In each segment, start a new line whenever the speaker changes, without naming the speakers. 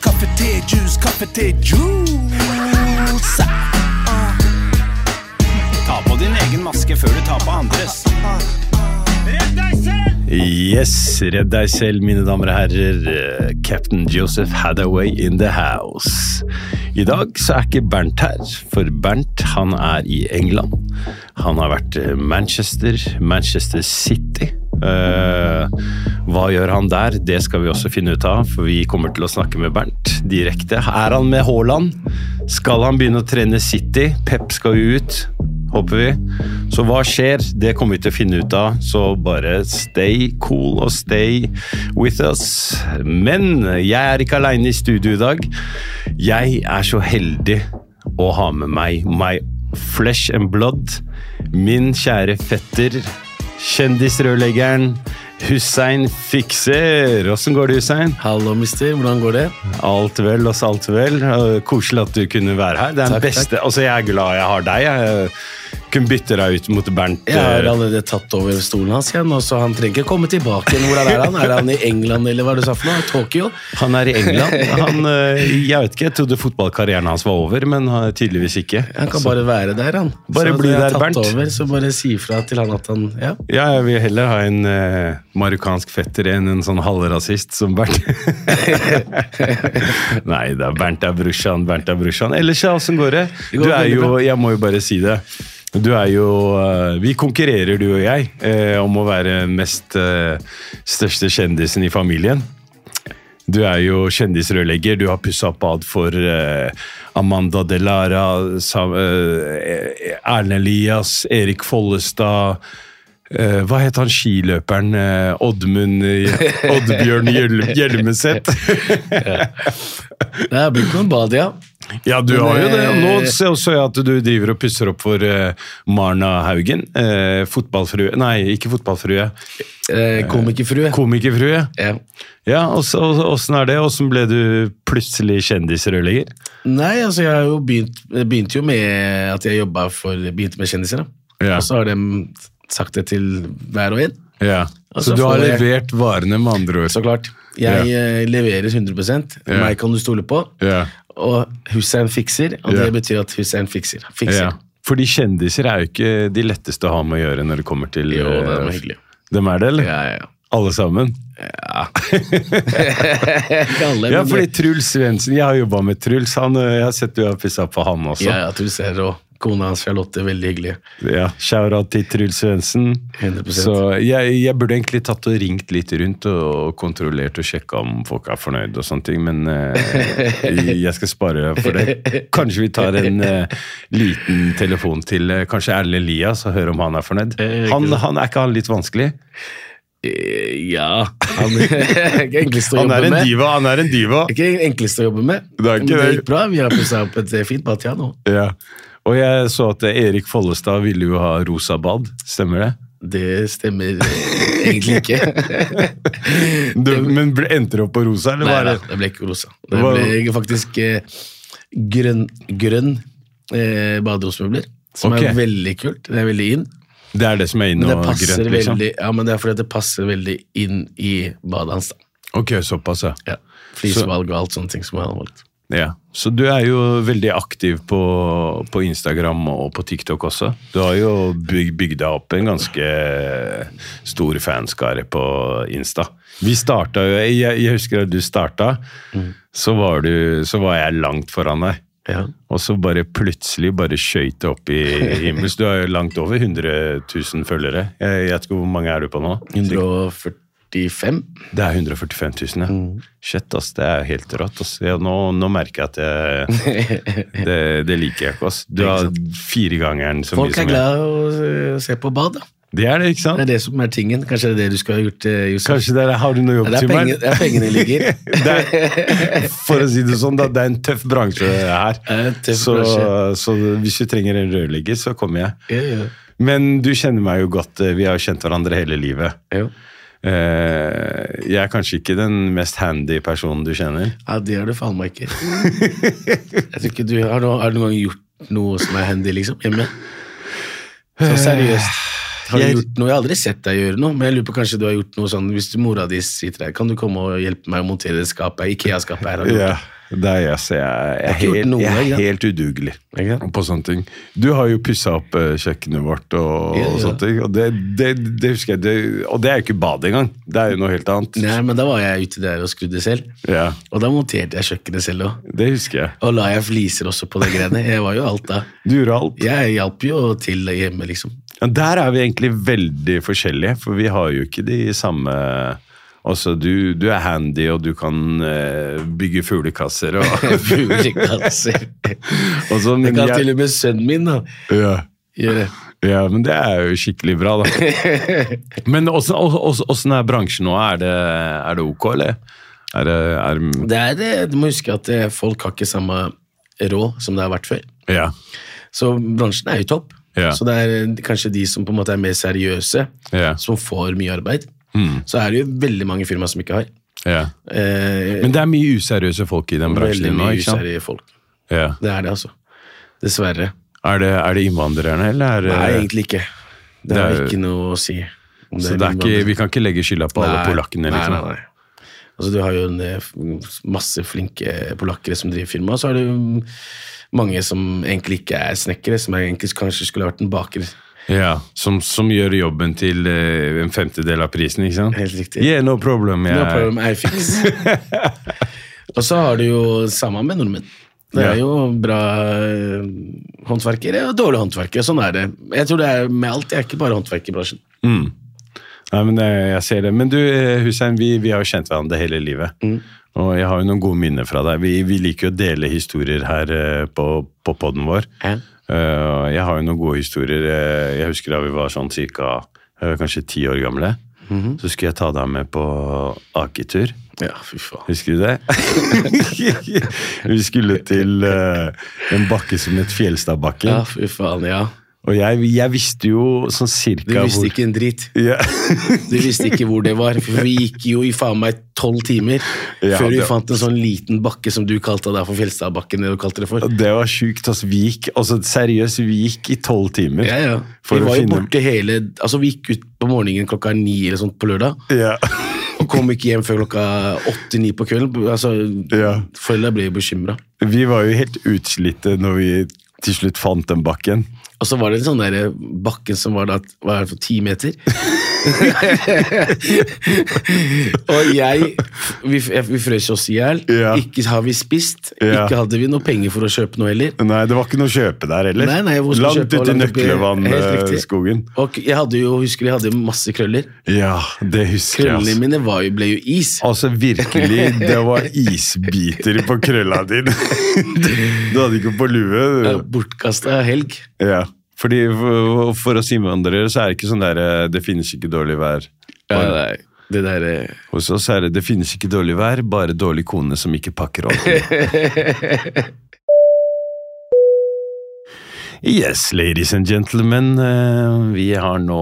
Kaffe, te, juice, kaffe, te, juice.
Ta på din egen maske før du tar på andres.
Yes, redd deg selv, mine damer og herrer. Eh, Captain Joseph Hathaway in the house. I dag så er ikke Bernt her, for Bernt han er i England. Han har vært eh, Manchester, Manchester City. Eh, hva gjør han der? Det skal vi også finne ut av, for vi kommer til å snakke med Bernt direkte. Er han med Haaland? Skal han begynne å trene City? Pep skal jo ut håper vi. Så hva skjer? Det kommer vi til å finne ut av, så bare stay cool og stay with us. Men jeg er ikke aleine i studio i dag. Jeg er så heldig å ha med meg my flesh and blood, min kjære fetter, kjendisrørleggeren Hussein Fikser. Åssen går det, Hussein?
Hallo, mister. Hvordan går det?
Alt vel, også alt vel. Eh, Koselig at du kunne være her. Det er den
Takk,
beste, altså Jeg er glad jeg har deg. Jeg eh, kunne bytte deg ut mot Bernt.
Jeg har
eh,
allerede tatt over stolen hans igjen, og så han trenger ikke komme tilbake. igjen. Hvor er han? Er han i England, eller hva er det du sa for noe? Tokyo?
Han er i England. Han, eh, jeg vet ikke, jeg trodde fotballkarrieren hans var over, men eh, tydeligvis ikke.
Han kan bare være der, han.
Bare
så
bli
jeg har
der,
tatt
Bernt.
Over, så bare si ifra til han at han Ja.
Ja, jeg vil heller ha en eh, marokkansk fetter enn en sånn halvrasist som Bernt. Nei da, Bernt er brorsan, Bernt er brorsan. Ellers, ja, åssen går det?
Det
Du
går
er
veldig
jo,
bra.
jeg må jo bare si det. Du er jo eh, Vi konkurrerer, du og jeg, eh, om å være mest eh, største kjendisen i familien. Du er jo kjendisrørlegger. Du har pussa opp bad for eh, Amanda Delara, Sam, eh, Erlend Elias, Erik Follestad eh, Hva het han skiløperen? eh, Oddmund eh, Oddbjørn Hjel- Hjelmeset?
Det er blitt noen bad, ja.
ja, du har jo det. Og Nå
eh,
ser så jeg at du driver og pusser opp for eh, Marna Haugen. eh, Fotballfrue Nei, ikke fotballfrue.
Eh, Komikerfrue.
Komikerfrue.
ja.
Ja, og så- og så- Åssen er det? Åssen ble du plutselig kjendisrørlegger?
Nei, altså, jeg har jo begynt, jeg begynte jo med at jeg jobba for Begynte med kjendiser, da.
Ja.
Og så har de sagt det til hver og en.
Ja,
Og
Så
så
du har
får jeg-
levert varene, med andre ord.
Så klart. Jeg eh, leverer 100
Ja.
Meg kan du stole på.
Ja.
Og Hussein fikser, og
Ja.
det betyr at Hussein fikser. fikser.
Ja. Fordi kjendiser er jo ikke de letteste å ha med å gjøre når det kommer til
Jo, det
eh,
var hyggelig.
Dem er det, eller?
Ja, ja, ja.
Alle sammen?
Ikke alle,
Ja,
men-
fordi Truls Svendsen Jeg har jobba med Truls. Han, eh, jeg har sett du har pissa på han også.
Ja,
Ja,
ja, du ser, og kona hans Charlotte er veldig hyggelig.
Shout-out til Truls Svendsen.
100%.
Så jeg, jeg burde egentlig tatt og ringt litt rundt og kontrollert og sjekka om folk er fornøyd og sånne ting, men eh, jeg skal spare for det. Kanskje vi tar en eh, liten telefon til eh, kanskje Erlend Elias og hører om han er fornøyd.
Eh, ikke
Han, han, er ikke han litt vanskelig?
Eh, Ja Han er ikke enklest å
Han er
jobbe
en
med.
diva, han er en diva.
Ikke enklest å jobbe med.
Det er ikke
men det
det.
gikk bra. Vi har pussa opp et eh, fint batia nå.
Ja. Og jeg så at eh, Erik Follestad ville jo ha rosa bad, stemmer det?
Det stemmer eh, egentlig ikke.
Du, men ble, endte det opp på rosa, eller
Nei,
var
da,
det
det ble ikke rosa. Det
Hva-
ble faktisk eh, grønn, grønn eh, baderomsmøbler, som
Ok.
er veldig kult. Det er veldig in.
Det er det som er inne
Men det
og
passer
grønt, liksom?
veldig Ja, men det er fordi at det passer veldig inn i badet hans. da.
Ok, såpass, ja.
Ja. Flisevalg og alt sånne ting som han har valgt.
ja. Så du er jo veldig aktiv på, på Instagram og på TikTok også. Du har jo byg, bygd deg opp en ganske stor fanskare på Insta. Vi starta jo Jeg, jeg husker da du starta, så, var du, så var jeg langt foran deg.
Ja.
Og så bare plutselig bare skøyt det opp i himmels. Du har jo langt over 100 000 følgere. Jeg, jeg vet ikke hvor mange er du på nå?
145.
Det er 145 000, ja. Shit, ass. Det er jo helt rått. ass. Ja, nå, nå merker jeg at jeg, det, det liker jeg ikke, ass. Du har firegangeren så mye
Folk er
som jeg.
glad i å eh, se på bad, da.
Det er det, ikke
Det
sant?
er det som er tingen. Kanskje det er det du skulle ha gjort, eh, Josef.
Kanskje der har du noe jobb
Det er,
til meg?
penge, det er pengene ligger.
Det er, for å si det sånn, da. Det er en tøff bransje her.
er en tøff
så,
bransje.
så hvis vi trenger en rørlegger, så kommer jeg.
Ja, ja.
Men du kjenner meg jo godt. eh, Vi har jo kjent hverandre hele livet.
Jo.
Eh, Jeg er kanskje ikke den mest handy personen du kjenner.
Ja, det er du faen meg ikke. Jeg tror ikke du har, noe, har du noen gang gjort noe som er handy, liksom, hjemme? Så seriøst. Har du
Jeg-
gjort noe? Jeg har aldri sett deg gjøre noe, men jeg lurer på kanskje du har gjort noe sånn, hvis du, mora di sitter der, kan du komme og hjelpe meg å montere det skapet, Ikea-skapet her? har du gjort det?
Det er jeg, så jeg, jeg, er
ikke gjort
helt,
noe,
jeg
ikke
er
sant?
helt udugelig
Ikke sant?
på sånne ting. Du har jo pussa opp eh, kjøkkenet vårt og,
Ja,
og
ja.
sånne ting, og det, det, det husker jeg. Det, og det er jo ikke bad engang. Det er jo noe helt annet.
Nei, men da var jeg ute der og skrudde selv.
Ja,
Og da monterte jeg kjøkkenet selv òg.
det husker jeg.
Og la jeg fliser også på de greiene. Jeg var jo alt da.
Du gjorde alt.
Jeg hjalp jo til hjemme, liksom.
Ja, der er vi egentlig veldig forskjellige, for vi har jo ikke de samme Altså, du, du er handy, og du kan eh, bygge fuglekasser og
Fuglekasser.
og så-
Det
men
kan
jeg-
til og med sønnen min da,
ja,
gjøre.
ja, men det er jo skikkelig bra, da. Men åssen åssen- åssen er bransjen nå? Er det, er det ok, eller? Er det er,
Det er det, Du må huske at eh, folk har ikke samme råd som det har vært før.
Ja.
Så bransjen er jo topp.
Ja.
Så det er eh, kanskje de som på en måte er mer seriøse,
Ja.
som får mye arbeid.
Mm.
Så er det jo veldig mange firmaer som ikke har.
ja.
Eh,
Men det er mye useriøse folk i den bransjen
veldig
din nå,
mye
ikke sant?
useriøse folk.
Ja.
Det er det, altså. Dessverre.
Er det, er det innvandrerne, eller? Er det,
Nei, egentlig ikke. Det
det
har
er-
ikke noe å si. om
Så det er ikke, vi kan ikke legge skylda på alle
Nei,
polakkene, liksom?
Nei, nei, nei. Altså, du har jo en, eh, f- masse flinke polakkere som driver firma, og så har du mm, mange som egentlig ikke er snekkere, som egentlig kanskje skulle vært en baker.
Ja, som, som gjør jobben til eh, en femtedel av prisen, ikke sant?
Helt riktig.
Yeah, no problem. Jeg,
No problem, I fix. og så har du jo samme med nordmenn. Det er
Ja.
jo bra eh, håndverkere og dårlige håndverkere. Sånn er det. Jeg tror det er med alt, det er ikke bare håndverkerbransjen.
Nei, men eh, jeg ser det. Men du, eh, Hussein, vi, vi har jo kjent hverandre hele livet.
Mm.
Og jeg har jo noen gode minner fra deg. Vi, vi liker jo å dele historier her eh, på, på podden vår.
Ja.
Eh, og jeg har jo noen gode historier. eh, Jeg husker da vi var sånn cirka eh, kanskje ti år gamle.
Mhm.
Så skulle jeg ta deg med på aketur.
Ja, fy faen.
Husker du det? vi skulle til eh, en bakke som het Fjelstadbakken.
Ja, fy faen, ja.
Og jeg, jeg visste jo sånn
Du
cirka
visste ikke en drit.
hvor ja.
Du visste ikke hvor det var, for vi gikk jo i faen meg tolv timer
Ja,
før vi
det-
fant en sånn liten bakke som du kalte deg for Fjelstadbakken. Det du kalte det for.
Det var sjukt. Altså, vi gikk, altså, seriøst, vi gikk i tolv timer.
Ja, ja.
For
vi
å
var jo
finne-
borte hele Altså, vi gikk ut på morgenen klokka ni eller sånt på lørdag,
Ja.
og kom ikke hjem før klokka åtte-ni på kvelden. Altså,
Ja.
Foreldra ble jo bekymra.
Vi var jo helt utslitte når vi til slutt fant den bakken.
Og så var det en sånn der bakken som var da hva er det for ti meter. og jeg Vi, jeg- vi frøs oss i hjel.
Ja.
Ikke har vi spist.
Ja.
Ikke hadde vi noe penger for å kjøpe noe heller.
Nei, det var ikke noe å kjøpe der heller.
Nei, nei, hvor skal vi
Langt
kjøpe?
ut i eh,
Langt oppi- Helt riktig.
Nøklevannskogen.
Og jeg hadde jo, husker jeg hadde masse krøller.
Ja, det husker jeg.
Krøllene
Altså.
mine var jo, ble jo is.
altså virkelig, det var isbiter på krølla dine. Du hadde ikke på lue. Du.
Bortkasta Eh, helg.
Ja, fordi for, for oss innvandrere så er det ikke sånn der eh, Det finnes ikke dårlig vær.
nei. Det der, eh,
Hos oss er det det finnes ikke dårlig vær, bare dårlig kone som ikke pakker ordentlig. Yes, ladies and gentlemen. eh, Vi har nå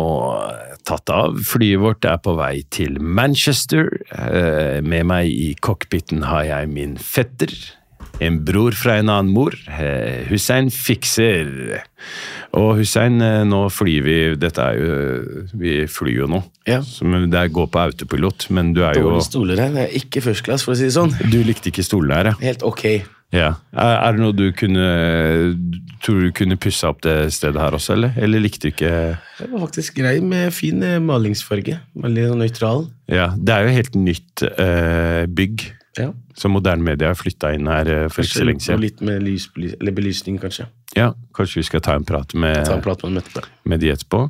tatt av. Flyet vårt er på vei til Manchester. Eh, Med meg i cockpiten har jeg min fetter. En bror fra en annen mor. Eh, Hussein fikser. Og Hussein, eh, nå flyr vi Dette er jo Vi flyr jo nå.
Ja.
Så, men det går på autopilot, men du er jo
dårlige stoler her. Det er ikke first class, for å si det sånn.
Du likte ikke stolelære.
Helt ok.
Ja. Er, er det noe du kunne Tror du kunne pussa opp det stedet her også, eller? Eller likte du ikke
Det var faktisk grei med fin eh, malingsfarge. Veldig sånn nøytral.
Ja, det er jo helt nytt eh, bygg.
Ja.
Så moderne media har flytta inn her eh, for ikke så lenge siden.
Litt med lys, eller belysning, kanskje.
Ja, kanskje vi skal ta en prat med,
Ta en prat med dem etterpå.
med de etterpå.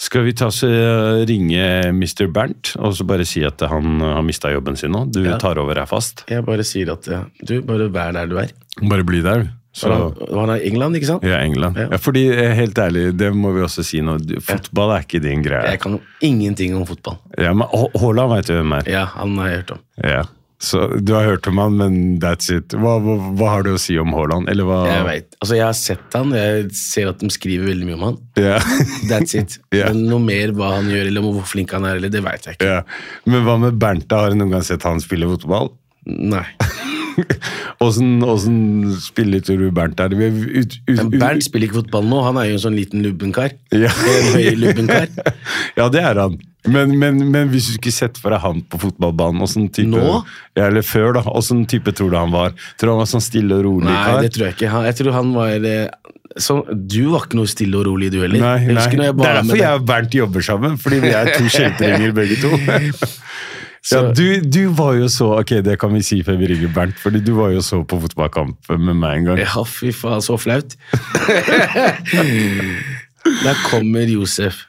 Skal vi ta oss eh, ringe Mr. Bernt og så bare si at han har mista jobben sin nå? Du
Ja.
tar over her fast.
Jeg bare sier at eh, du, bare vær der du er.
Bare bli der, du.
Var han, var han i England, ikke sant?
Ja, England. Ja.
Ja.
fordi eh, helt ærlig, det må vi også si nå. du- Fotball er ikke din greie.
Jeg kan jo ingenting om fotball.
Ja, men H- Haaland veit du hvem er.
Ja, han har jeg hørt om.
Ja. Så du har hørt om han, men that's it. Hva, hva, hva har du å si om Haaland? Eller hva
Jeg vet. Altså, jeg har sett han, jeg ser at de skriver veldig mye om han.
Ja.
That's it.
Ja.
Men noe mer hva han gjør, eller om hvor flink han er, eller det veit jeg ikke.
ja. Men hva med Bernt? da? Har du noen gang sett han spille fotball?
Nei.
Åssen åssen spiller tror du Bernt er? Vi er ut, ut,
Men
ut-
Bernt spiller ikke fotball nå, han er jo en sånn liten lubbenkar.
Ja.
En høy lubbenkar.
ja, det er han. Men, men, men hvis du skulle sett for deg han på fotballbanen åssen type,
Nå?
Ja, Eller før, da. Åssen type tror du han var? Tror du han var sånn stille og rolig
Nei, det tror jeg ikke. Han, jeg tror han var eh, sånn, Du var ikke noe stille og rolig, du heller.
Nei,
Jeg
nei.
husker når jeg
Det
var
er
med
derfor
deg.
jeg og Bernt jobber sammen, fordi vi er to kjeltringer begge to. Ja,
Så-
du, du var jo så Ok, det kan vi si før vi ringer Bernt, fordi du var jo så på fotballkamp med meg en gang.
Ja, fy faen, så flaut. Der kommer Josef,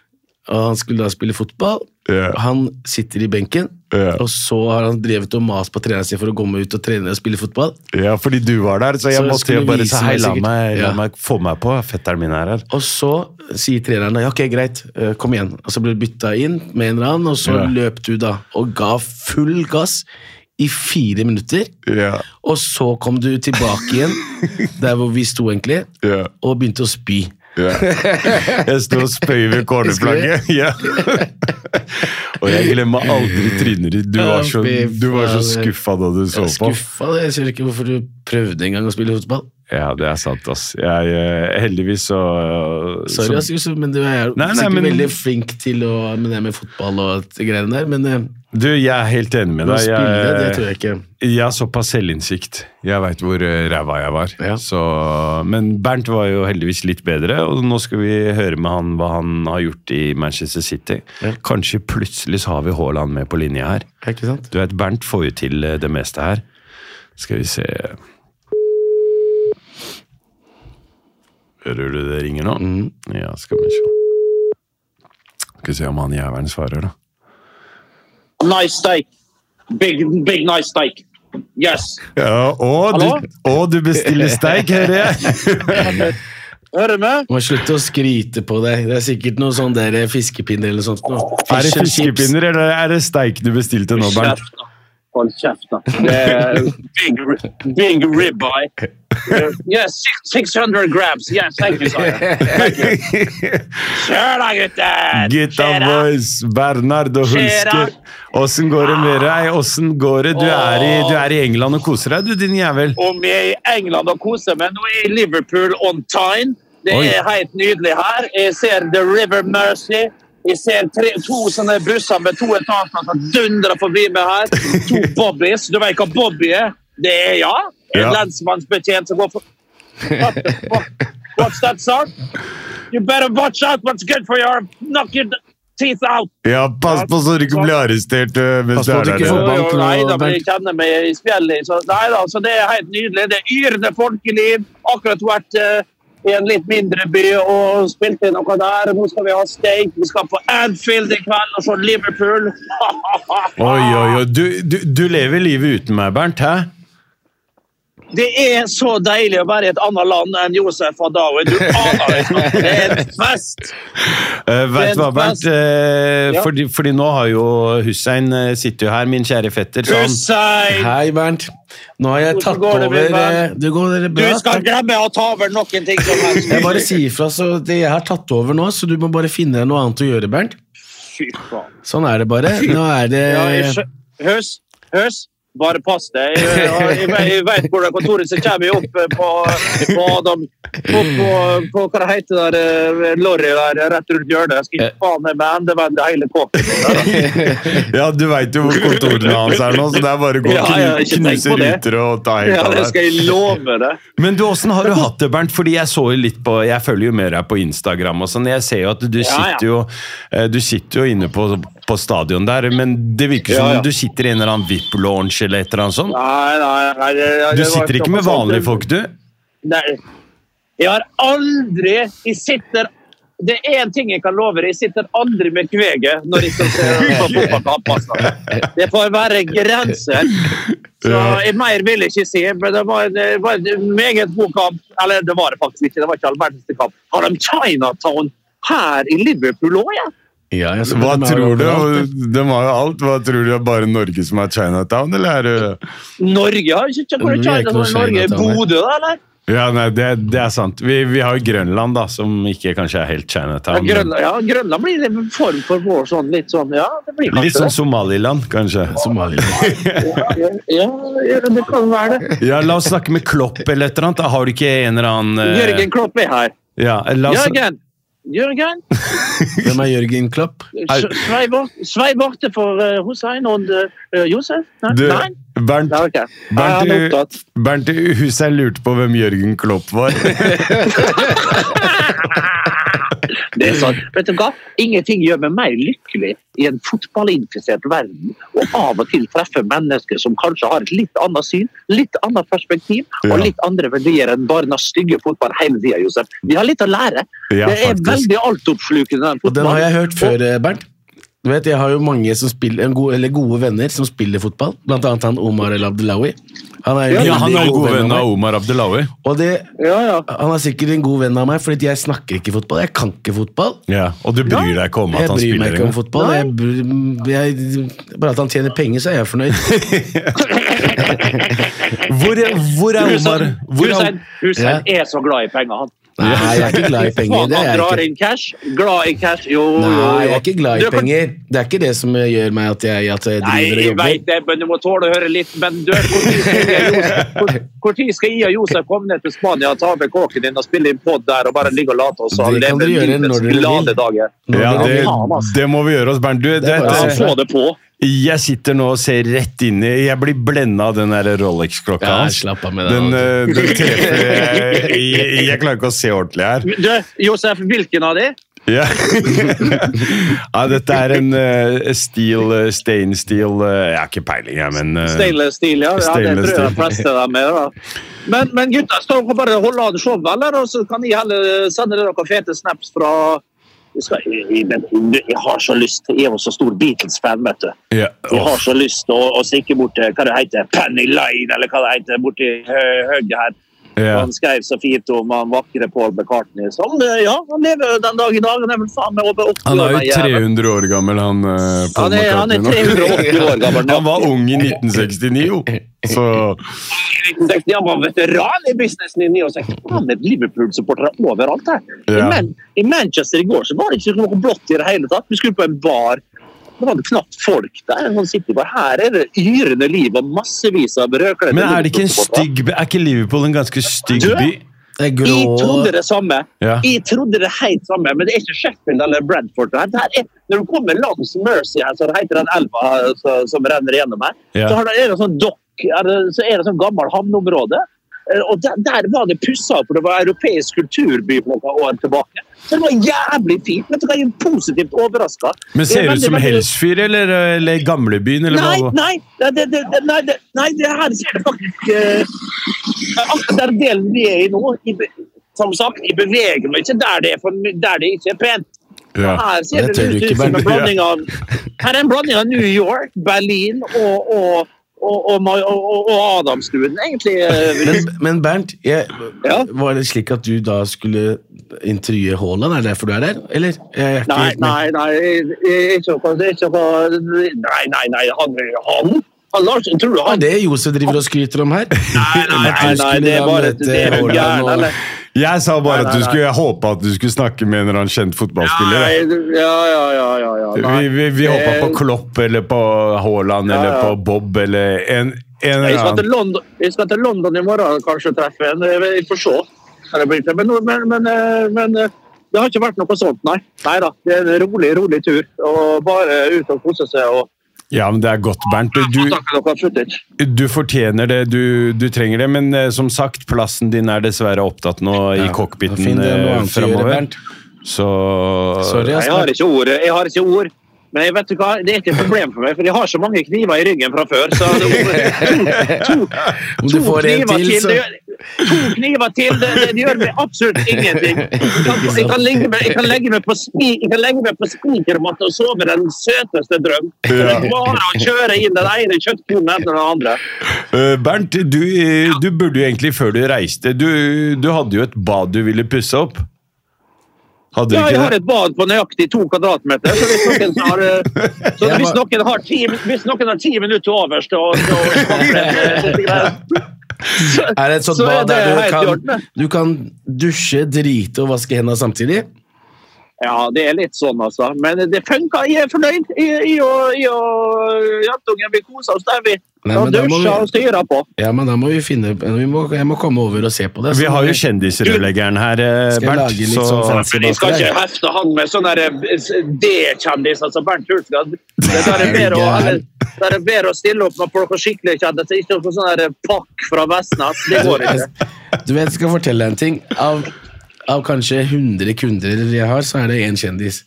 og han skulle da spille fotball.
Ja.
Han sitter i benken,
Ja.
og så har han drevet og mast på treneren sin for å komme ut og trene og spille fotball.
Ja, fordi du var der, så
Så
jeg
jeg
måtte jo
skulle
bare
vise
si hei,
meg
la
sikkert.
meg, la
Ja.
meg få meg på. Fetteren min er her.
Og så sier treneren da, ja, ok, greit, eh, kom igjen. Og så ble du bytta inn med en eller annen, og så
Ja.
løp du da og ga full gass i fire minutter.
Ja,
Og så kom du tilbake igjen, der hvor vi sto egentlig,
Ja.
og begynte å spy.
Jeg sto og spøy ved cornerflagget. Ja. Og jeg glemmer aldri trynet ditt. Du var så, du var så skuffa da du så
Jeg er
på.
skuffa, det. jeg ser ikke hvorfor du prøvde engang å spille fotball.
Ja, det er sant, ass. Jeg, eh, heldigvis så
Sorry,
så-
ass, Josef, men du er jo
Nei, nei,
sikkert
men-
veldig flink til å, med det med fotball og de greiene der, men eh,
Du, jeg er helt enig med
å
deg.
spille, det tror jeg ikke.
Jeg har såpass selvinnsikt. Jeg veit hvor eh, ræva jeg var.
Ja.
Så, men Bernt var jo heldigvis litt bedre, og nå skal vi høre med han hva han har gjort i Manchester City.
Ja.
Kanskje plutselig så har vi Haaland med på linja her.
Ja, Ikke sant?
Du vet, Bernt får jo til eh, det meste her. Skal vi se Hører du det ringer nå?
Mm.
Ja, skal vi se. Skal vi se om han jævelen svarer, da.
Nice steak. Big, big nice steak. Yes.
Ja, og,
Hallo?
du, og du bestiller steik, hører jeg!
Hører du meg?
Du må slutte å skryte på deg. Det er sikkert noen sånne der fiskepinner eller sånt. Noe.
Er det
Fish and chips.
fiskepinner, eller er det steik du bestilte nå, Bernt?
Kjeft, da. Hold kjeft, da. Det er Big, ri- big ribeye. Uh, Yes, six- 600 grams. Yes, thank you, sir. Kjør da, gutter!
Gutta
Kjør da!
boys, Bernard og Hulsker. Åssen går det med deg? Åssen går det? Du er, i, du er i England og koser deg, du, din jævel.
Om jeg er i England og koser meg, nå er jeg i Liverpool on time. Det
Oi.
er helt nydelig her. Jeg ser The River Mercy. Jeg ser tre, to sånne busser med to etasjer som dundrer forbi meg her. To bobbies. Du vet hva bobby er? Det er ja. En
Ja.
lensmannsbetjent som går for What the fuck? What's that, sir? You better watch out what's good for your knock your teeth out.
Ja, pass på så du ikke blir arrestert øh, mens
Pass
du
på at
er
du ikke
der.
får-
nede.
Jo, jo,
banken
nei
og
da, men jeg
bank.
kjenner meg i spjeldet. Så, nei da, så det er helt nydelig. Det er yrende folkeliv. Akkurat vært eh, i en litt mindre by og spilt inn noe der. Nå skal vi ha steak. Vi skal på Anfield i kveld og se Liverpool.
Oi, oi, oi. Du, du, du lever livet uten meg, Bernt, hæ?
Det er så deilig å være i et annet land enn Josef Hadaoui. Du aner ikke. Det er en fest.
Eh, vet
Det er
du hva,
en
Bernt?
fest.
Eh,
Ja.
fordi, fordi nå har jo Hussein eh, sitter jo her, min kjære fetter. så han-
Hussein!
Hei, Bernt. Nå har jeg
Hvordan
tatt
går det,
over
min venn?
eh, Du går dere
Du
bra?
skal
takk.
glemme å ta over noen ting som
Jeg bare
helst.
sier ifra, så det- jeg har tatt over nå, så du må bare finne deg noe annet å gjøre, Bernt.
Fy faen.
Sånn er det bare. Nå er
Eh,
Ja, jeg
det
skjø- Høs, høs. Bare pass deg. Jeg, jeg, jeg, jeg vet hvordan kontoret sitt kommer jo opp eh, på, på Adam. Opp på, på hva det heter det der eh, lorry der rett rundt hjørnet. Jeg skal
Eh.
ikke faen meg endevende hele kåken.
Ja, du veit jo hvor kontorene hans er nå, så det er bare å gå og
Ja, ja, ikke
knu- knuse
tenk på det.
ruter og ta helt
Ja,
av
det
der.
skal jeg love deg.
Men du, åssen har du hatt det, Bernt? Fordi jeg så jo litt på Jeg følger jo med deg på Instagram og sånn. Jeg ser jo at du
ja.
sitter jo eh, Du sitter jo inne på, på stadion der, men det virker som
Ja, ja.
om du sitter i en eller annen VIP-launch eller et eller annet sånt.
Nei, nei, nei det, det
Du
var
sitter ikke med vanlige folk, du?
Nei. Jeg har aldri Jeg sitter Det er én ting jeg kan love deg. Jeg sitter aldri med kveget når jeg skal se på fotballkamp. altså. Det får være grenser. Så jeg mer vil jeg ikke si. Men det var en, det var en meget god kamp. Eller det var det faktisk ikke. Det var ikke all verdens kamp. Har de Chinatown her i Liverpool òg, ja?
Ja, jeg så
Hva
dem er
tror du?
overalt,
De har jo alt. Hva tror du er bare Norge som er Chinatown, eller er det
Norge har ikke Hvor er
Vi er ikke noe
Chinatown i Norge?
Chinatown, nei.
Bodø, da, eller?
Ja, nei, det, det er sant. Vi, vi har jo Grønland, da, som ikke kanskje er helt Chinatown.
Ja,
men-
Grønland, ja, Grønland blir en form for vår sånn litt sånn Ja, det blir
Litt
kanskje
sånn Somaliland, kanskje.
Somalia.
det. Ja, ja, det kan være det.
Ja, La oss snakke med Klopp eller et eller annet. Da har du ikke en eller annen eh, altså-
Jørgen Klopp er her.
Ja, la oss,
Jørgen! Jørgen!
Hvem er Jørgen Klopp?
s- svei bort- Svei borte for eh, Hussein og eh, Josef? Nei?
du,
Nei?
Bernt,
Nei, ok. Nei,
Bernt,
han er
du-
opptatt.
Bernt Hussein lurte på hvem Jørgen Klopp var.
Det er sånn. Vet du hva? Ingenting gjør meg mer lykkelig i en fotballinfisert verden å av og til treffe mennesker som kanskje har et litt annet syn, litt annet perspektiv
Ja.
og litt andre verdier enn bare den stygge fotballen hele tida, Josef. Vi har litt å lære.
Ja,
det er
faktisk.
veldig altoppslukende, den
Og den har
fotballen.
jeg hørt før, eh, Bernt. Du vet, Jeg har jo mange som spiller, en god, eller gode venner som spiller fotball. Blant annet han Omar El Abdelawi. Han er, en
Ja, han er
veldig
jo god venn
meg.
av Omar Abdelawi.
Og det,
Ja, ja.
han er sikkert en god venn av meg, fordi jeg snakker ikke fotball. Jeg kan ikke fotball.
Ja, og du bryr deg ikke om at
Jeg
han
bryr meg
spiller
ikke om
engang?
fotball. Jeg, bryr- jeg, bare at han tjener penger, så er jeg fornøyd.
Hvor, er- hvor er Omar?
Hussein,
Hvor er,
Hussein, Hussein er så glad i penger, han.
Nei, jeg er ikke glad i penger.
Faen,
Det
han
er
drar
jeg ikke.
inn cash. Glad i cash. Jo, jo,
Nei,
jo.
jeg er ikke glad
Du
i
kan-
penger. Det er ikke det som eh, gjør meg at jeg, at jeg
Nei,
driver og
jeg
jobber.
veit det, men du må tåle å høre litt. Men du, hvor tid skal jeg og Josef- hvor- hvor tid skal jeg og Josef komme ned til Spania og ta med kåken din og spille inn pod der og bare ligge og late oss og
Det kan
leve
dere gjøre
livets
når dere vil.
glade dager?
Når
ja,
dere
det,
vil.
Faen, ass.
det må vi gjøre oss, Bernt. Du, det,
bare
Ja,
å
det,
få det på.
jeg sitter nå og ser rett inn i Jeg blir blenda av den der Rolex-klokka
Ja,
hans.
slapp av med det.
Den,
nå.
eh, den treffer jeg, jeg, jeg klarer ikke å se ordentlig her.
Du, Josef, hvilken av de?
Ja. ja, dette er en eh, steel, eh, stain steel eh, Jeg har ikke peiling, jeg, men eh,
Stainless steel, ja. ja det
Stainless
tror jeg de
steel.
fleste de er. Da. Men, men gutta, står dere bare og holder av det showet, eller? Og så kan jeg heller sende dere noen fete snaps fra jeg, skal, jeg, jeg, men jeg har så lyst Jeg er jo så stor Beatles-fan, vet du.
ja,
Jeg
åh.
har så lyst til å, å stikke bort til hva det heter, Penny Lane, eller hva det heter, borti høyre her.
Ja.
Han skrev så fint om han vakre Paul McCartney. Så han, eh, ja, han lever jo den dag i dag. Han er vel faen meg over 80
Han er
år.
jo
den jævelen.
300 år gammel, han eh, Paul
Han er, han er
McCartney. nå.
380 år gammel nå.
Han var ung i 1969, jo. Så
Han var veteran i businessen i 69. Han er Liverpool-supportere overalt her.
Ja.
I, Man I Manchester i går så var det ikke noe blått i det hele tatt. Vi skulle på en bar. Det var knapt folk der. Sånn sitter vi bare. Her er det yrende liv og massevis av rødkledde
Men er det ikke en
Liverpool-supportere.
stygg by? Er ikke Liverpool en ganske stygg
Du?
by?
Det er
Jeg trodde
grå
det samme.
Ja.
Jeg trodde det helt samme, men det er ikke Sheffield eller Bradford. Det her er, når du kommer langs Mercy, her, så det heter den elva eh, så- som renner gjennom her,
Ja.
så har det, er det sånn dokk, er det- så er det sånn gammel havneområde. Eh, Og der, der var det pussa opp, for det var europeisk kulturby for noen år tilbake. Så det var jævlig fint. Vet du hva, jeg er positivt overraska.
Men ser det ut som Helsfyr eller, eller Gamlebyen? Eller
Nei,
hva?
nei, det, det, det, det- nei, det, nei, det her ser det faktisk eh, Akkurat den delen vi er i nå i, be- Som sagt, jeg beveger meg ikke der det, er for, my- der det ikke er pent.
Ja.
Her
Det
ser det,
tør du
ut
ikke,
som en
Bernt.
blanding av Her er en blanding av New York, Berlin og, og og, og, Ma- og, og- og Adamstuen, egentlig. eh, vil jeg
men, men Bernt, jeg,
Ja.
var det slik at du da skulle intervjue Haaland? Er det derfor du er der? Eller? Jeg er ikke
Nei,
helt med.
nei, nei. jeg- Ikke noe ikke noe- Nei, nei, nei. Han, han, han Larsen, tror du
Hva er
han
det Josef driver og skryter om her?
Nei, nei, nei, nei, det er bare det er jo gæren, eller?
Jeg sa bare at
Nei,
du
nei,
skulle, jeg håpa at du skulle snakke med en eller annen kjent fotballspiller. jeg.
Nei, du- ja, ja, ja, ja, ja. Nei.
Vi, vi, vi
Eh,
hoppa på Klopp eller på Haaland
Ja,
eller
ja.
på Bob eller en, en
Jeg
eller
skal, til
annen.
London, jeg skal til London i morgen kanskje og treffe en. Vi får se. hva det blir til. Men, men, men, eh, men eh, det har ikke vært noe sånt, nei. Nei da. Det er en rolig, rolig tur. Og bare ut og kose seg og
Ja, men det er godt, Bernt. Du,
snakke noe footage.
du fortjener det, du, du trenger det. Men eh, som sagt, plassen din er dessverre opptatt nå i cockpiten
Finn det noe
eh,
annet å gjøre,
framover.
Bernt.
Så
Sorry, altså.
Nei, Jeg har
ass.
ikke ord. Jeg har ikke ord. Men jeg vet du hva, det er ikke et problem for meg, for jeg har så mange kniver i ryggen fra før. Så det to, to,
Om
to
du får en
kniver
til,
til,
så
det gjør, to kniver til, det, det, det gjør meg absolutt ingenting. Jeg kan, jeg kan, legge, meg, jeg kan legge meg på spi- jeg kan legge meg på spikermatte og sove den søteste drøm. Det er bare å kjøre inn den ene kjøttkornen etter den andre.
Eh, Bernt, du, eh, du burde jo egentlig før du reiste du, du hadde jo et bad du ville pusse opp. Hadde
Ja,
du
jeg har
ikke det?
et bad på nøyaktig to kvadratmeter. Så hvis noen har, eh, så
Jeg
hvis
var-
noen har, ti, hvis noen har ti minutter overs til å til å- til å-
Er det et sånt
Så er
bad der
det
du
helt i orden,
kan,
det.
du kan dusje, drite og vaske hendene samtidig?
Ja, det er litt sånn, altså. Men det funka. Jeg er fornøyd. Jeg jeg og jeg og jentungen vi koser oss der, vi.
Nei,
Og
men da må
dusjer
vi-
og styrer på.
Ja, men da må vi finne vi må, Jeg må komme over og se på det.
Vi har jo
Så-
kjendisrørleggeren her, eh,
Skal jeg
Bernt.
lage litt
Så
sånn fancy-
Ja, De skal ikke hefte han med sånne der, eh, D-kjendiser som Bernt Hultgard. Det er bare bedre å, eller, det er bedre å stille opp når folk har skikkelig kjendiser, ikke noe sånn der pakk fra Vestnes. Det går ikke.
Du vet, jeg skal fortelle deg en ting. Av, av kanskje 100 kunder jeg har, så er det én kjendis.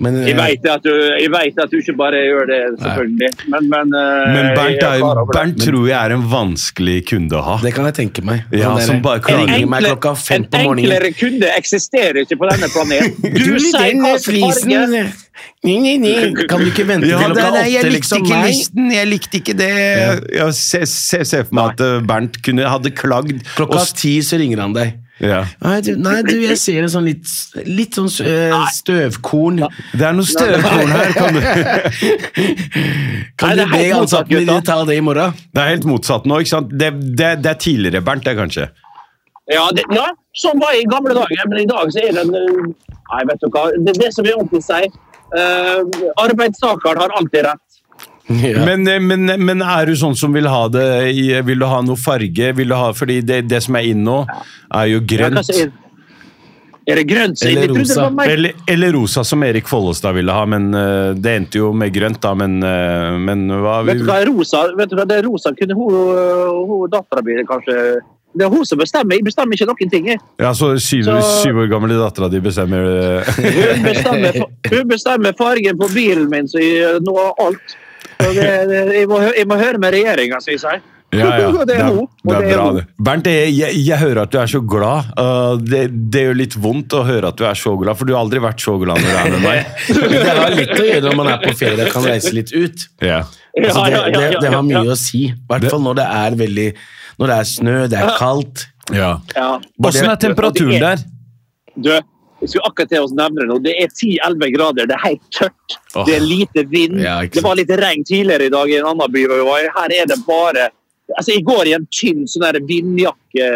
Men, eh,
Jeg vet at du, jeg vet at du ikke bare gjør det, selvfølgelig. Men, men, eh,
Men
jeg
Bernt, er,
klar over det.
Bernt tror jeg er en vanskelig kunde å ha.
Det kan jeg tenke meg.
Ja,
Han der-
som bare
En
klager.
Ringer meg
enkle-
klokka fem
en
på morgenen.
enklere kunde eksisterer ikke på denne planeten. Du, sier hva som farge
Nei, nei, nei. Kan du ikke vente
Ja,
til
det er-
klokka
nei, jeg
åtte,
likte
liksom?
ikke
Nei.
listen, jeg likte ikke det. Jeg ser se, se for meg at eh, Bernt kunne, hadde klagd.
Klokka
og s-
ti så ringer han deg.
ja.
Nei, du, nei, du jeg ser en sånn litt, litt sånn eh, støvkorn.
Det er noe støvkorn her. Kan du?
Kan
Nei,
du
det er
be
helt motsatt,
ansattene dine
gutta.
ta det i morgen?
Det er helt motsatt nå. ikke sant? Det, det, det er tidligere Bernt, det, kanskje.
Ja, det, ja, sånn var jeg i gamle dager, men i dag så er det en eh, Nei, vet du hva. Det er det som vi alltid sier. eh, arbeidstakeren har alltid rett.
Ja.
Men, eh, men, men er du sånn som vil ha det i Vil du ha noe farge? Vil du ha, fordi det, det som er inne nå, er jo
Ja, hva
grønt.
sier- Er det grønt? sier
Eller
de? Jeg trodde det
rosa.
var meg.
Eller, eller rosa, som Erik Follestad ville ha. men eh, Det endte jo med grønt, da, men, eh, men hva
Vet du hva, rosa, vet du hva, det er rosa kunne hun, hun dattera mi kanskje Det er hun som bestemmer, jeg bestemmer ikke noen ting. jeg.
Ja, så syv,
Så-
syv år gamle dattera di bestemmer eh,
Hun bestemmer, hun bestemmer fargen på bilen min, så jeg nå har alt. Så det, det, jeg, må, hø- jeg må høre med regjeringa, sier jeg. Og det er hun. Og
det er bra,
hun.
det. Bernt, jeg, jeg, jeg hører at du er så glad. Uh, det, det gjør litt vondt å høre at du er så glad, for du har aldri vært så glad når du er med meg.
Det har litt å gjøre når man er på ferie og kan reise litt ut.
Ja.
Altså,
Ja,
det,
ja, ja,
det,
ja,
det har mye
ja,
å si. I hvert fall når det er veldig Når det er snø, det er kaldt.
Ja.
ja.
Åssen er temperaturen der?
Du, jeg skulle akkurat til å nevne det nå. Det er 10-11 grader, det er helt tørt.
Åh.
Det er lite vind.
Ja, ikke sant.
det var litt regn tidligere i dag i en annen by. hvor vi var i. Her er det bare Altså, Jeg går i en tynn sånn der vindjakke,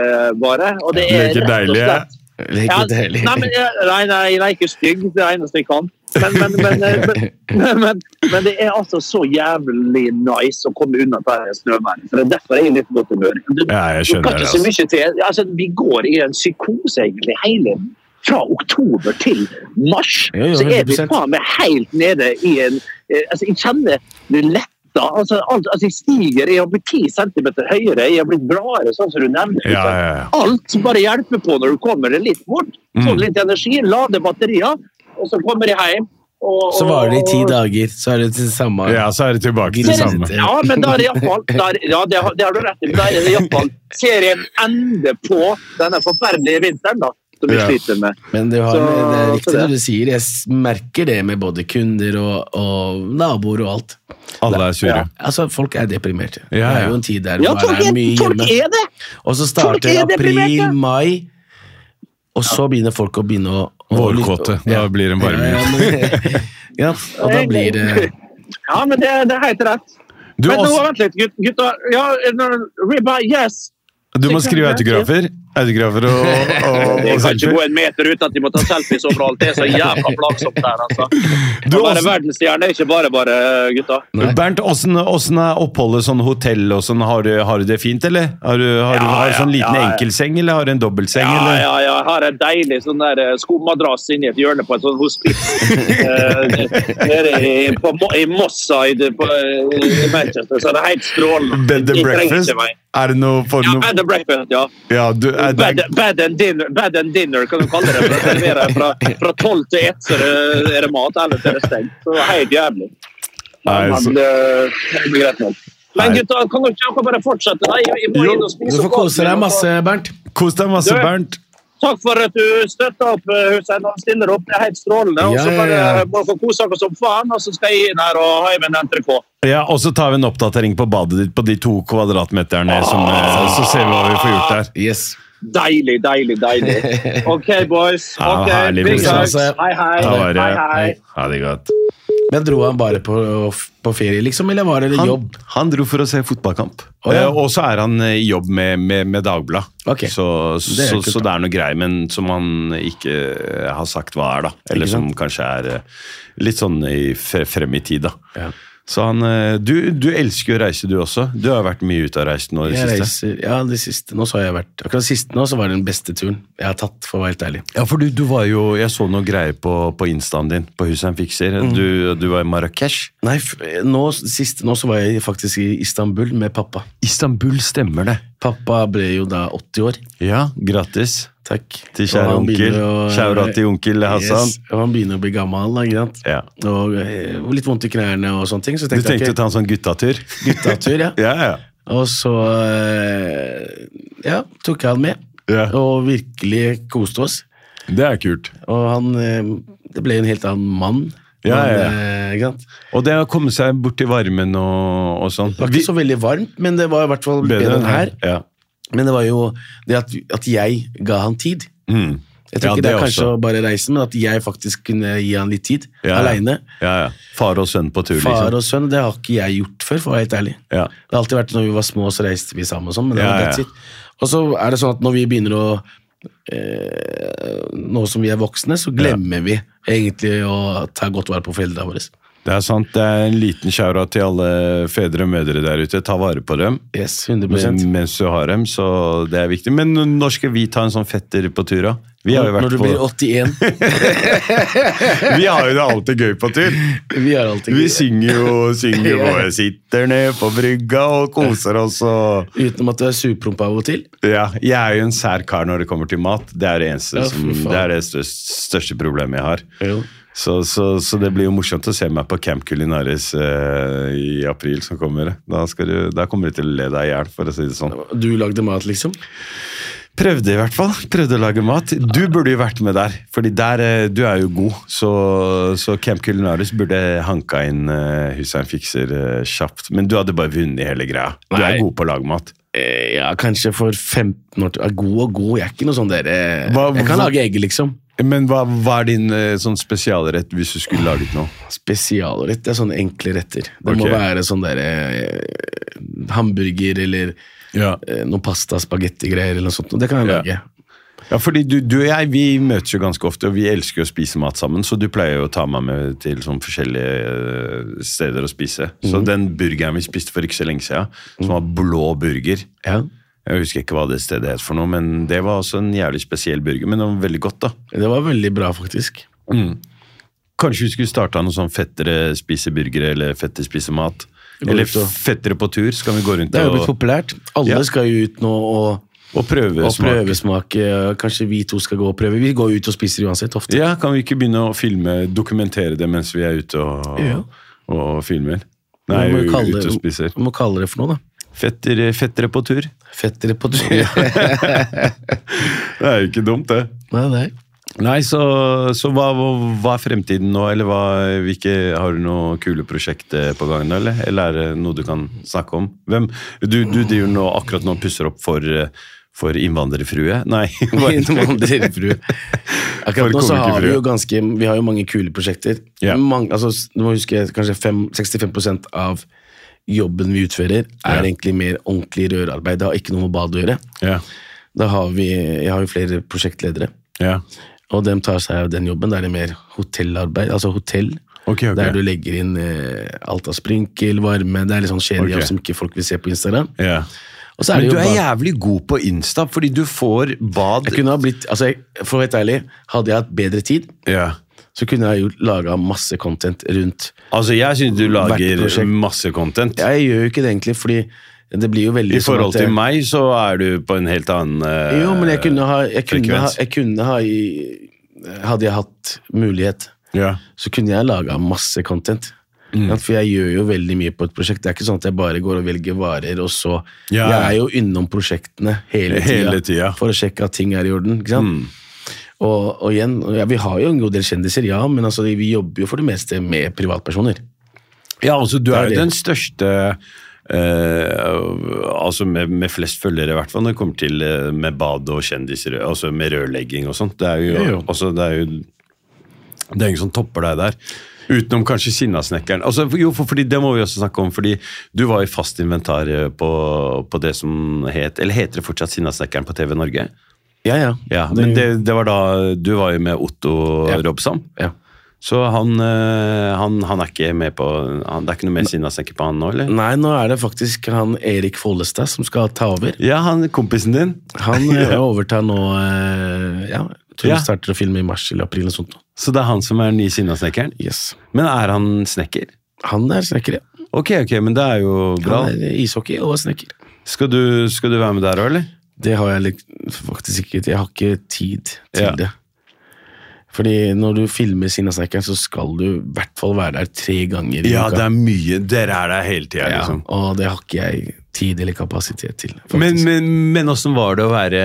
bare. Og det er
Det er ikke deilig, jeg.
Det er
ja,
ikke deilig.
nei, men, jeg- nei, nei, jeg er ikke stygg. Det er det eneste jeg kan. Men, men, men, eh, men, men, men, men det er altså så jævlig nice å komme unna dette snøværet. For det er derfor jeg er i litt godt humør. Det,
Ja, jeg
det
skjønner
kan
det.
ikke så
Altså.
mye til. Altså, vi går i en psykose egentlig hele fra oktober til mars.
Jo, jo,
så er vi
100%.
faen meg helt nede i en eh, Altså, jeg kjenner det letta. Altså, alt, altså, jeg stiger. Jeg har blitt 10 cm høyere. Jeg har blitt bladere, sånn som du nevner.
Ja, ja, ja.
Alt bare hjelper på når du kommer deg litt bort.
Mm.
Få litt energi, lade batterier, og så kommer jeg hjem. Og,
Så varer det i ti
og-
dager. Så er det det samme
ja, så er det tilbake til det samme.
ja, men da er det iallfall Ja, det har, det har du rett i. men Da er det iallfall serien ende på denne forferdelige vinteren da, som vi
Ja.
sliter med.
Men du har,
Så-
det er
så
riktig
det.
det du sier. Jeg s- merker det med både kunder og, og naboer og alt.
Alle er sure.
Altså, Folk er deprimerte.
Ja,
Det
ja.
er jo en tid der
Ja,
man
folk
er
er,
mye
folk
hjemme.
er det!
Og så
folk
starter
er
april,
deprimerte.
mai, og så begynner folk å begynne å å
Vårkåte.
lytte-
Da blir det en varme.
Ja, men- ja, og da blir det
Ja, men det, det er helt rett.
Du,
men nå,
Ås-
vent litt, gutt- gutta. Ja, når- Ribba, yes!
du må skrive autografer. Autografer og, og,
Jeg
og
kan ikke
selfie.
gå en meter uten at de må ta selfies overalt. Det er så jævla plagsomt der, altså.
Du,
Å være
Åsen-
verdensstjerne er ikke bare bare, gutta.
Nei.
Bernt, åssen åssen er oppholdet sånn hotell og sånn? Har, du- har du det fint, eller? Har du, har, du-
Ja,
har du sånn
ja,
liten
ja, ja.
enkeltseng, eller har du en dobbeltseng?
Ja,
eller?
ja, ja. Jeg har en deilig sånn der eh, skomadrass inni et hjørne på et sånt hospits. Eh, Nede i, på, Mo- i Mossa i, det- på, eh, i Manchester. Så det er helt strålende.
Bed and
De trengte
breakfast?
meg.
Er det noe for
Ja,
noe
bed and breakfast, ja.
Ja, du er
Bed,
Eh, det-
bed, and dinner, bed and dinner, kan du kalle det. For det serverer fra, fra 12 til 1 så er det, er det mat, eller så er det stengt. Så det er helt jævlig.
Nei,
Men,
så-
det det blir greit nok. Men
Nei.
gutta, kan dere ikke bare fortsette? Nei, jeg, jeg må
Jo,
inn og spise
Du får
opp maten
kose
min,
deg
og så-
masse, Bernt.
Kos deg masse,
Du-
Bernt.
Takk for at du støtter opp, eh, Hussein. Han stiller opp. Det er helt strålende. Og
Ja,
så
ja,
bare
ja.
må dere kose dere som faen, og så skal jeg inn her og ha i meg en NTRK.
Ja, Og så tar vi en oppdatering på badet ditt på de to kvadratmeterne, som, eh, så ser vi hva vi får gjort der.
Yes.
Deilig, deilig, deilig. OK, boys.
Ja,
Ok,
herlig,
big
Hussein.
hugs. Hei, hei.
Ta
Hei,
vare.
hei.
Ha det godt.
Men dro han bare på, på ferie, liksom, eller var det
Han,
jobb?
han dro for å se fotballkamp.
Å, ja.
Eh, Og så er han eh, i jobb med, med, med Dagbladet.
Ok.
Så,
Det er
så,
kult,
så det er noe greier, men som han ikke eh, har sagt hva er, da. Eller som kanskje er eh, litt sånn i, fre- frem i tid, da.
Ja.
Så han eh, du, du elsker jo å reise, du også. Du har vært mye ute og reist nå i det
Jeg
siste.
reiser, ja, det siste. Nå så har jeg vært Akkurat siste nå så var det den beste turen jeg har tatt, for å være helt ærlig.
Ja, for du, du var jo Jeg så noe greier på, på instaen din, på Hussein Fikser.
Mm.
Du, du var i Marrakech.
Nei, f- nå, siste nå så var jeg faktisk i Istanbul med pappa.
Istanbul stemmer det.
Pappa ble jo da 80 år.
Ja, grattis
Takk.
til
Og
kjære
han
onkel.
begynner å-
Kjære til onkel Hassan.
Yes, og han begynner å bli gammel, da, ikke sant?
Ja.
Og eh, litt vondt i knærne og sånne ting. Så
Du
tenkte,
tenkte å
jeg,
ta en sånn guttatur?
ok, guttatur, ja.
Ja, ja.
Og så eh, ja, tok jeg han med,
Ja.
og virkelig koste oss.
Det er kult.
Og han eh, Det ble jo en helt annen mann.
Ja,
Men,
ja, ja.
eh, ikke sant?
Og det å komme seg bort i varmen og, og sånn.
Det var ikke så veldig varmt, men det var i hvert fall bedre, enn her.
Ja.
Men det var jo det at, at jeg ga han tid.
Mm.
Jeg tror ikke
Ja,
det
det
er kanskje
også.
å bare reise, men at jeg faktisk kunne gi han litt tid.
Ja, ja.
Aleine.
ja, ja. Far og sønn på tur,
Far
liksom.
og sønn, det har ikke jeg gjort før, for å være helt ærlig.
Ja.
Det har alltid vært når vi var små, så reiste vi sammen og sånn, men det
Ja,
var
ja,
that's
ja.
it. Og så er det sånn at når vi begynner å eh, Nå som vi er voksne, så glemmer vi egentlig å ta godt vare på foreldrene våre.
Det er sant. Det er en liten shout-out til alle fedre og mødre der ute. Ta vare på dem.
Yes, 100
Men, mens du har dem, så det er viktig. Men når skal vi ta en sånn fetter på tur, da? Vi har jo,
Når
vært
du blir
på,
81
vi har jo det alltid gøy på tur.
Vi har alltid
Vi synger jo synger jo, og sitter ned på brygga og koser oss og
Utenom at du er surpromp av og til.
Ja, jeg er jo en sær kar når det kommer til mat. Det er det eneste
Ja, fy
som,
faen.
det er det største, største problemet jeg har.
Jo.
Så, så, så det blir jo morsomt å se meg på Camp Culinaris eh, i april som kommer. Da, skal du, da kommer du til å le deg i hjel, for å si det sånn.
Du lagde mat, liksom.
Prøvde i hvert fall. Prøvde å lage mat. Du burde jo vært med der, fordi der, eh, du er jo god. Så, så Camp Culinaris burde hanka inn eh, Hussein Fikser eh, kjapt. Men du hadde bare vunnet hele greia. Du
Nei.
er god på å lage mat.
Eh, ja, kanskje for 15 år til. Ja, god og god, jeg er ikke noe sånn der eh,
Hva-
Jeg kan
hva-
lage egg, liksom.
Men hva, hva er din eh, sånn spesialrett hvis du skulle laget noe?
Spesialrett. Det er sånne enkle retter. Det må
Ok.
være sånn der eh, hamburger eller
Ja.
eh, noe pasta, spagettigreier eller noe sånt. og Det kan jeg
Ja.
lage.
Ja, fordi du, du og jeg vi møtes jo ganske ofte, og vi elsker jo å spise mat sammen. Så du pleier jo å ta meg med til sånn forskjellige eh, steder å spise. Så den burgeren vi spiste for ikke så lenge siden, som var blå burger
Ja.
Jeg husker ikke hva det stedet het for noe, men det var også en jævlig spesiell burger. Men den var veldig godt, da.
Det var veldig bra, faktisk.
Kanskje vi skulle starta noe sånn fettere spise burgere, eller fettere spise mat.
Gå
Eller
ut og-
fettere på tur, så kan vi gå rundt
Det er jo blitt
og,
populært. Alle
Ja.
skal jo ut nå og,
og prøve
og
smak.
prøvesmake. Kanskje vi to skal gå og prøve. Vi går jo ut og spiser uansett, ofte.
Ja, kan vi ikke begynne å filme, dokumentere det mens vi er ute og,
Ja.
og filmer? Nei,
Vi må jo kalle
ute
det-
og spiser.
Vi må kalle det for noe, da.
Fetter, fettere på tur.
Fettere på tur. nei,
Det er jo ikke dumt, det.
nei.
Nei, så, så hva, hva- hva er fremtiden nå, eller hva, hvilke, har du noe kule prosjekt eh, på gang, nå, eller? Eller er det noe du kan snakke om? Hvem, du, du driver nå, akkurat nå og pusser opp for, eh, for innvandrerfrue? Nei, hva-
Innvandrerfrue.
For
Akkurat nå så har vi
komikerfrue.
jo ganske Vi har jo mange kule prosjekter.
Ja.
Mange, altså, s- du må huske kanskje fem- 65 av jobben vi utfører, er
Ja.
egentlig mer ordentlig rørarbeid. Det har ikke noe med badet å gjøre.
Ja,
Da har vi, jeg har jo flere prosjektledere,
ja.
og dem tar seg av den jobben. Da er det mer hotellarbeid, altså hotell.
Ok, ok.
Der du legger inn eh, alt av sprinkel, varme Det er litt sånn skjer
Ok.
som ikke folk vil se på Instagram.
ja.
Og så er
Men
det
du
jo
er
bad-
jævlig god på Insta, fordi du får bad...
Jeg kunne ha blitt, altså jeg, for å være helt ærlig, hadde jeg hatt bedre tid,
Ja.
så kunne jeg jo laga masse content rundt
Altså, jeg syns du
Hvert
lager
prosjekt.
masse content.
Jeg gjør jo ikke det egentlig, fordi det blir jo veldig
I
sånn
forhold
at
til
jeg-
meg så er du på en helt annen eh,
Jo, men jeg kunne ha, jeg kunne ha,
frekvens.
jeg kunne ha i, Hadde jeg hatt mulighet,
Ja.
så kunne jeg laga masse content.
Mm.
Ja, For jeg gjør jo veldig mye på et prosjekt. Det er ikke sånn at jeg bare går og velger varer, og så
Ja.
Jeg er jo innom prosjektene hele tida,
Hele tida. Mm.
for å sjekke at ting er i orden. Ikke sant? Og, og igjen, ja, Vi har jo en god del kjendiser, ja, men altså, vi jobber jo for det meste med privatpersoner.
ja, altså, du
Det er
er jo
det.
den største eh, altså med, med flest følgere, i hvert fall når det kommer til eh, med bad og kjendiser, altså med rørlegging og sånt. Det er jo,
Jo, jo.
Altså, det er jo det er ingen som topper deg der. Utenom kanskje Sinnasnekkeren. Altså, jo, for, fordi Det må vi også snakke om, fordi du var i fast inventar på, på det som het Eller heter det fortsatt Sinnasnekkeren på TV Norge?
Ja, ja.
Ja, Men det, det var da Du var jo med Otto
Ja.
Robsam.
ja.
Så han, eh, han, han er ikke med på han, Det er ikke noe mer Sinnasnekker på han nå, eller?
Nei, nå er det faktisk han Erik Follestad som skal ta over.
Ja, han kompisen din.
Han eh, overtar nå eh, Ja, jeg tror
Ja.
vi starter å filme i mars eller april. eller sånt nå.
Så det er han som er den nye Sinnasnekkeren.
Yes.
Men er han snekker?
Han er snekker, ja.
Ok, ok, men det er jo bra.
Han er ishockey og snekker.
Skal du, skal du være med der òg, eller?
Det har jeg litt- faktisk ikke Jeg har ikke tid til
Ja.
det. Fordi når du filmer Sinnasnekkeren, så skal du i hvert fall være der tre ganger i
Ja,
uka.
det er mye. Dere er der hele tida,
Ja,
liksom.
Og det har ikke jeg tid eller kapasitet til. faktisk.
Men, men, men åssen var det å være,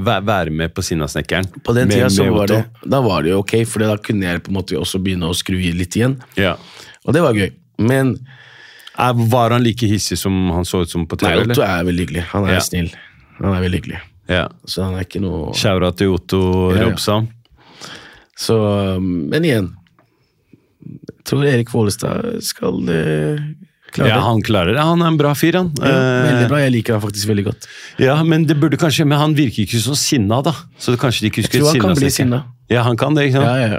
væ- være med på Sinnasnekkeren?
på den
Med-
tida så
med
var
Otto?
det, da var det jo ok, for da kunne jeg på en måte også begynne å skru i litt igjen.
ja.
Og det var gøy. Men
Er, Var han like hissig som han så ut som på TV?
Nei, Otto
eller?
er veldig hyggelig. Han er
Ja.
snill. Han er veldig hyggelig.
Ja.
Så han er ikke noe
Sjaura til Otto
Ja, ja.
Robsam.
Så, Men igjen Jeg tror Erik Vålestad skal eh, klare
Ja, han klarer det. Han er en bra fyr, han.
det. Ja, veldig
Eh,
bra. Jeg liker han faktisk veldig godt.
ja, men det burde kanskje, men han virker ikke så sinna, da. Så kanskje de ikke husker
tror han kan bli sinna.
Sinnasnekkeren. Ja, han kan det, ikke sant?
Ja, ja, ja.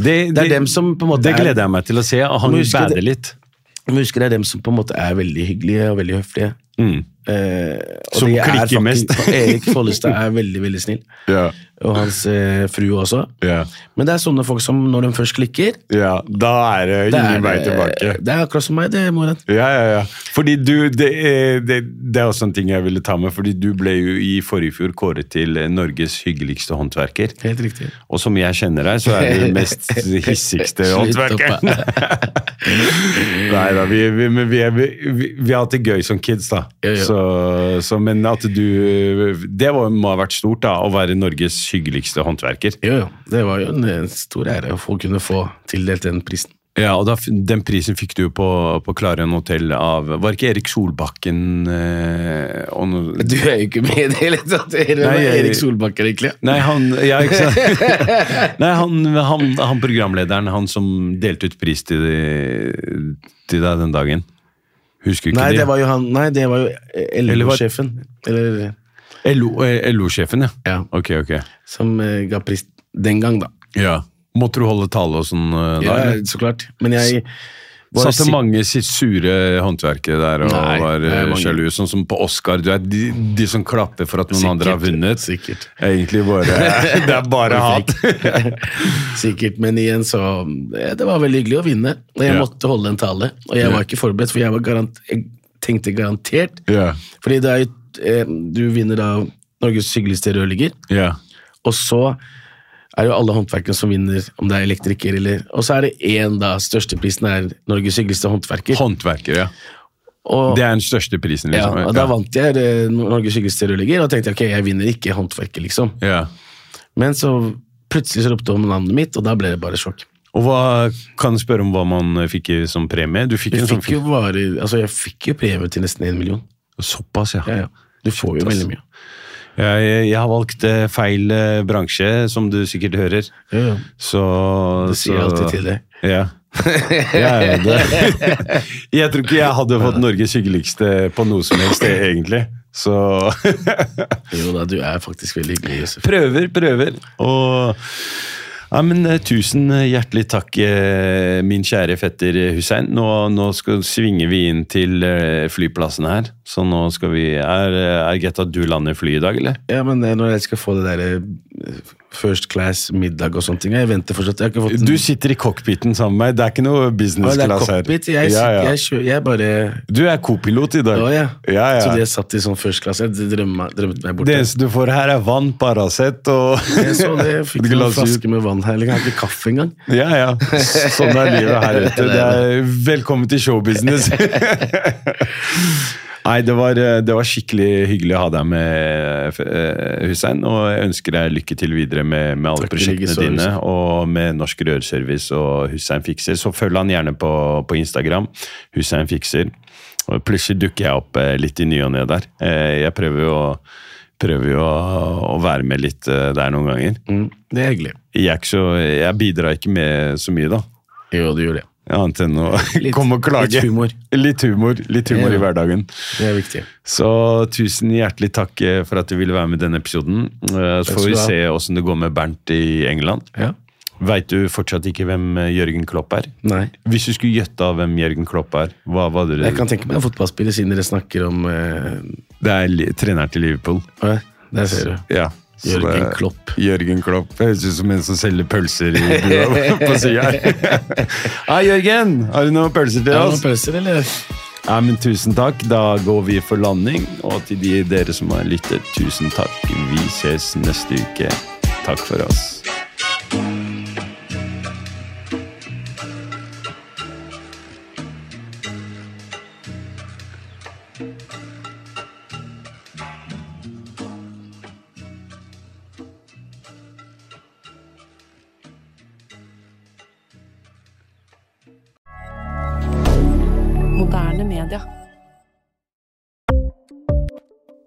Det,
Det er dem som på en måte
det
er-
gleder jeg meg til å se. og Han
Må huske det-
bader litt.
Men husker det er dem som på en måte er veldig hyggelige og veldig høflige.
Mm.
Eh, og
Som
de er
klikker
fucking-
mest.
Erik Follestad er veldig veldig snill.
Ja.
Og hans eh, frue også.
Ja.
Men det er sånne folk som når de først klikker
ja, da er det
det er, det er akkurat som meg, det, Moran.
Ja, ja, ja. Fordi du, det, er- det, det er også en ting jeg ville ta med, fordi du ble jo i forrige fjor kåret til Norges hyggeligste håndverker.
Helt riktig.
Og som jeg kjenner deg, så er du den mest hissigste
Eh, Slutt opp,
håndverkeren. Nei da, vi, vi, men vi, er- vi, vi har hatt det gøy som kids, da.
Ja, ja.
Så, så, men at du Det var, må ha vært stort, da, å være Norges hyggeligste håndverker.
Jo, jo. Det var jo en, eh, stor ære å få, kunne få tildelt den prisen.
Ja, og da, f- Den prisen fikk du jo på, på Klaren hotell av Var ikke Erik Solbakken eh, og no,
Du er jo ikke med i det hele tatt! Det er jo
Nei, jeg-
Erik Solbakken, egentlig.
Nei, han, ja, ikke sant? Nei, han, han, han programlederen, han som delte ut pris til, til deg den dagen. Husker du ikke
Nei, det
det?
var jo han Nei, det var jo eh,
Eller var-
LO-sjefen. Eller
LO eh, LO-sjefen, ja.
Ja.
Ok, ok.
Som eh, ga pris den gang, da.
Ja. Måtte du holde tale og sånn? eh, da,
Ja,
eller?
så klart. Men jeg var
Satte
sik-
mange sitt sure håndverket der og
Nei,
var
det
eh,
er mange.
sjalu. Sånn som på Oscar. Du er de, de som klapper for at noen andre har vunnet.
Sikkert.
er Egentlig bare Det er bare hat.
Sikkert, men igjen så eh, Det var veldig hyggelig å vinne. Og jeg
Ja.
måtte holde en tale. Og jeg var ikke forberedt, for jeg, var garant, jeg tenkte garantert
Ja.
Fordi det er jo eh, Du vinner da Norges hyggeligste rørlegger,
Ja.
og så er jo alle håndverkere som vinner, om det er elektriker eller Og så er det én, da. Størsteprisen er Norges hyggeligste håndverker.
Håndverker, ja.
Og,
Det er den største prisen,
ja,
liksom.
og da vant jeg eh, Norges hyggeligste rørlegger, og tenkte jeg, ok, jeg vinner ikke håndverker, liksom.
ja.
Men så plutselig så ropte hun navnet mitt, og da ble det bare sjokk.
Og hva, kan jeg spørre om hva man fikk i- som premie? Du fikk
Jeg
en sånn
fikk jo bare, altså jeg fikk jo premie til nesten en million.
Såpass, ja.
Ja, ja. Du får jo
Shit, ass.
veldig mye.
Jeg, jeg har valgt eh, feil eh, bransje, som du sikkert hører.
Ja, ja.
Så
Det sier jeg
så-
alltid til deg.
Ja. ja, ja det. Jeg tror ikke jeg hadde fått Norges hyggeligste på noe som helst, det, egentlig. Så
Jo da, du er faktisk veldig hyggelig, Josef.
prøver, prøver. Og ja, men, eh, tusen hjertelig takk, eh, min kjære fetter Hussein. Nå, nå skal, svinger vi inn til eh, flyplassen her. Så nå skal vi Er, er greit at du lander flyet i dag, eller?
Ja, men eh, når jeg skal få det der eh, first class middag og sånne ting, jeg venter fortsatt, jeg har ikke fått en-
Du sitter i cockpiten sammen med meg. Det er ikke noe
Å,
business
det er
class her.
cockpit, jeg,
Ja, ja.
sitter- jeg, kjø- jeg bare,
Du er co-pilot i dag.
å ja.
Ja, ja.
Så det jeg satt i sånn first class, jeg drømmet, drømmet meg bort.
Det eneste du får her, er vann, Paracet og
Jeg så det, jeg fikk en
Glass ut.
flaske med vann her, eller jeg har ikke kaffe engang.
Ja, ja. Sånn er livet her ute. Det er velkommen til showbusiness. Nei, det var, eh, det var skikkelig hyggelig å ha deg med, eh, Hussein. Og jeg ønsker deg lykke til videre med, med alle
Takk, i like
prosjektene
så,
dine.
Hussein.
Og med Norsk Rørservice og Hussein Fikser. Så følg han gjerne på, på Instagram. Hussein Fikser. Og plutselig dukker jeg opp eh, litt i ny og ne der. Eh, Jeg prøver jo, å- prøver jo å, å være med litt eh, der noen ganger
Mm, det er hyggelig.
jeg, er ikke så, jeg bidrar ikke med så mye, da.
Jo, du gjør det.
Annet enn å
Litt-
komme og klage.
litt humor.
Litt humor, litt humor
Ja.
i hverdagen.
Det er viktig.
Så tusen hjertelig takk eh, for at du ville være med i denne episoden. Eh, Så
Takk skal
får vi
du ha.
se åssen det går med Bernt i England.
Ja.
Veit du fortsatt ikke hvem eh, Jørgen Klopp er?
Nei.
Hvis du skulle gjette av hvem Jørgen Klopp er, hva var det?
Jeg kan tenke meg en fotballspiller, siden dere snakker om eh,
Det er li- treneren til Liverpool.
Der ser du.
Ja. Så
Jørgen
det-
Klopp.
Jørgen Klopp. Det høres ut som en som selger pølser i bua på sida her. Hei, Jørgen! Har du noen pølser til
Er det noen
oss?
pølser, eller?
Ja, men Tusen takk. Da går vi for landing. Og til de dere som har lyttet, tusen takk. Vi ses neste uke. Takk for oss.
Moderne media.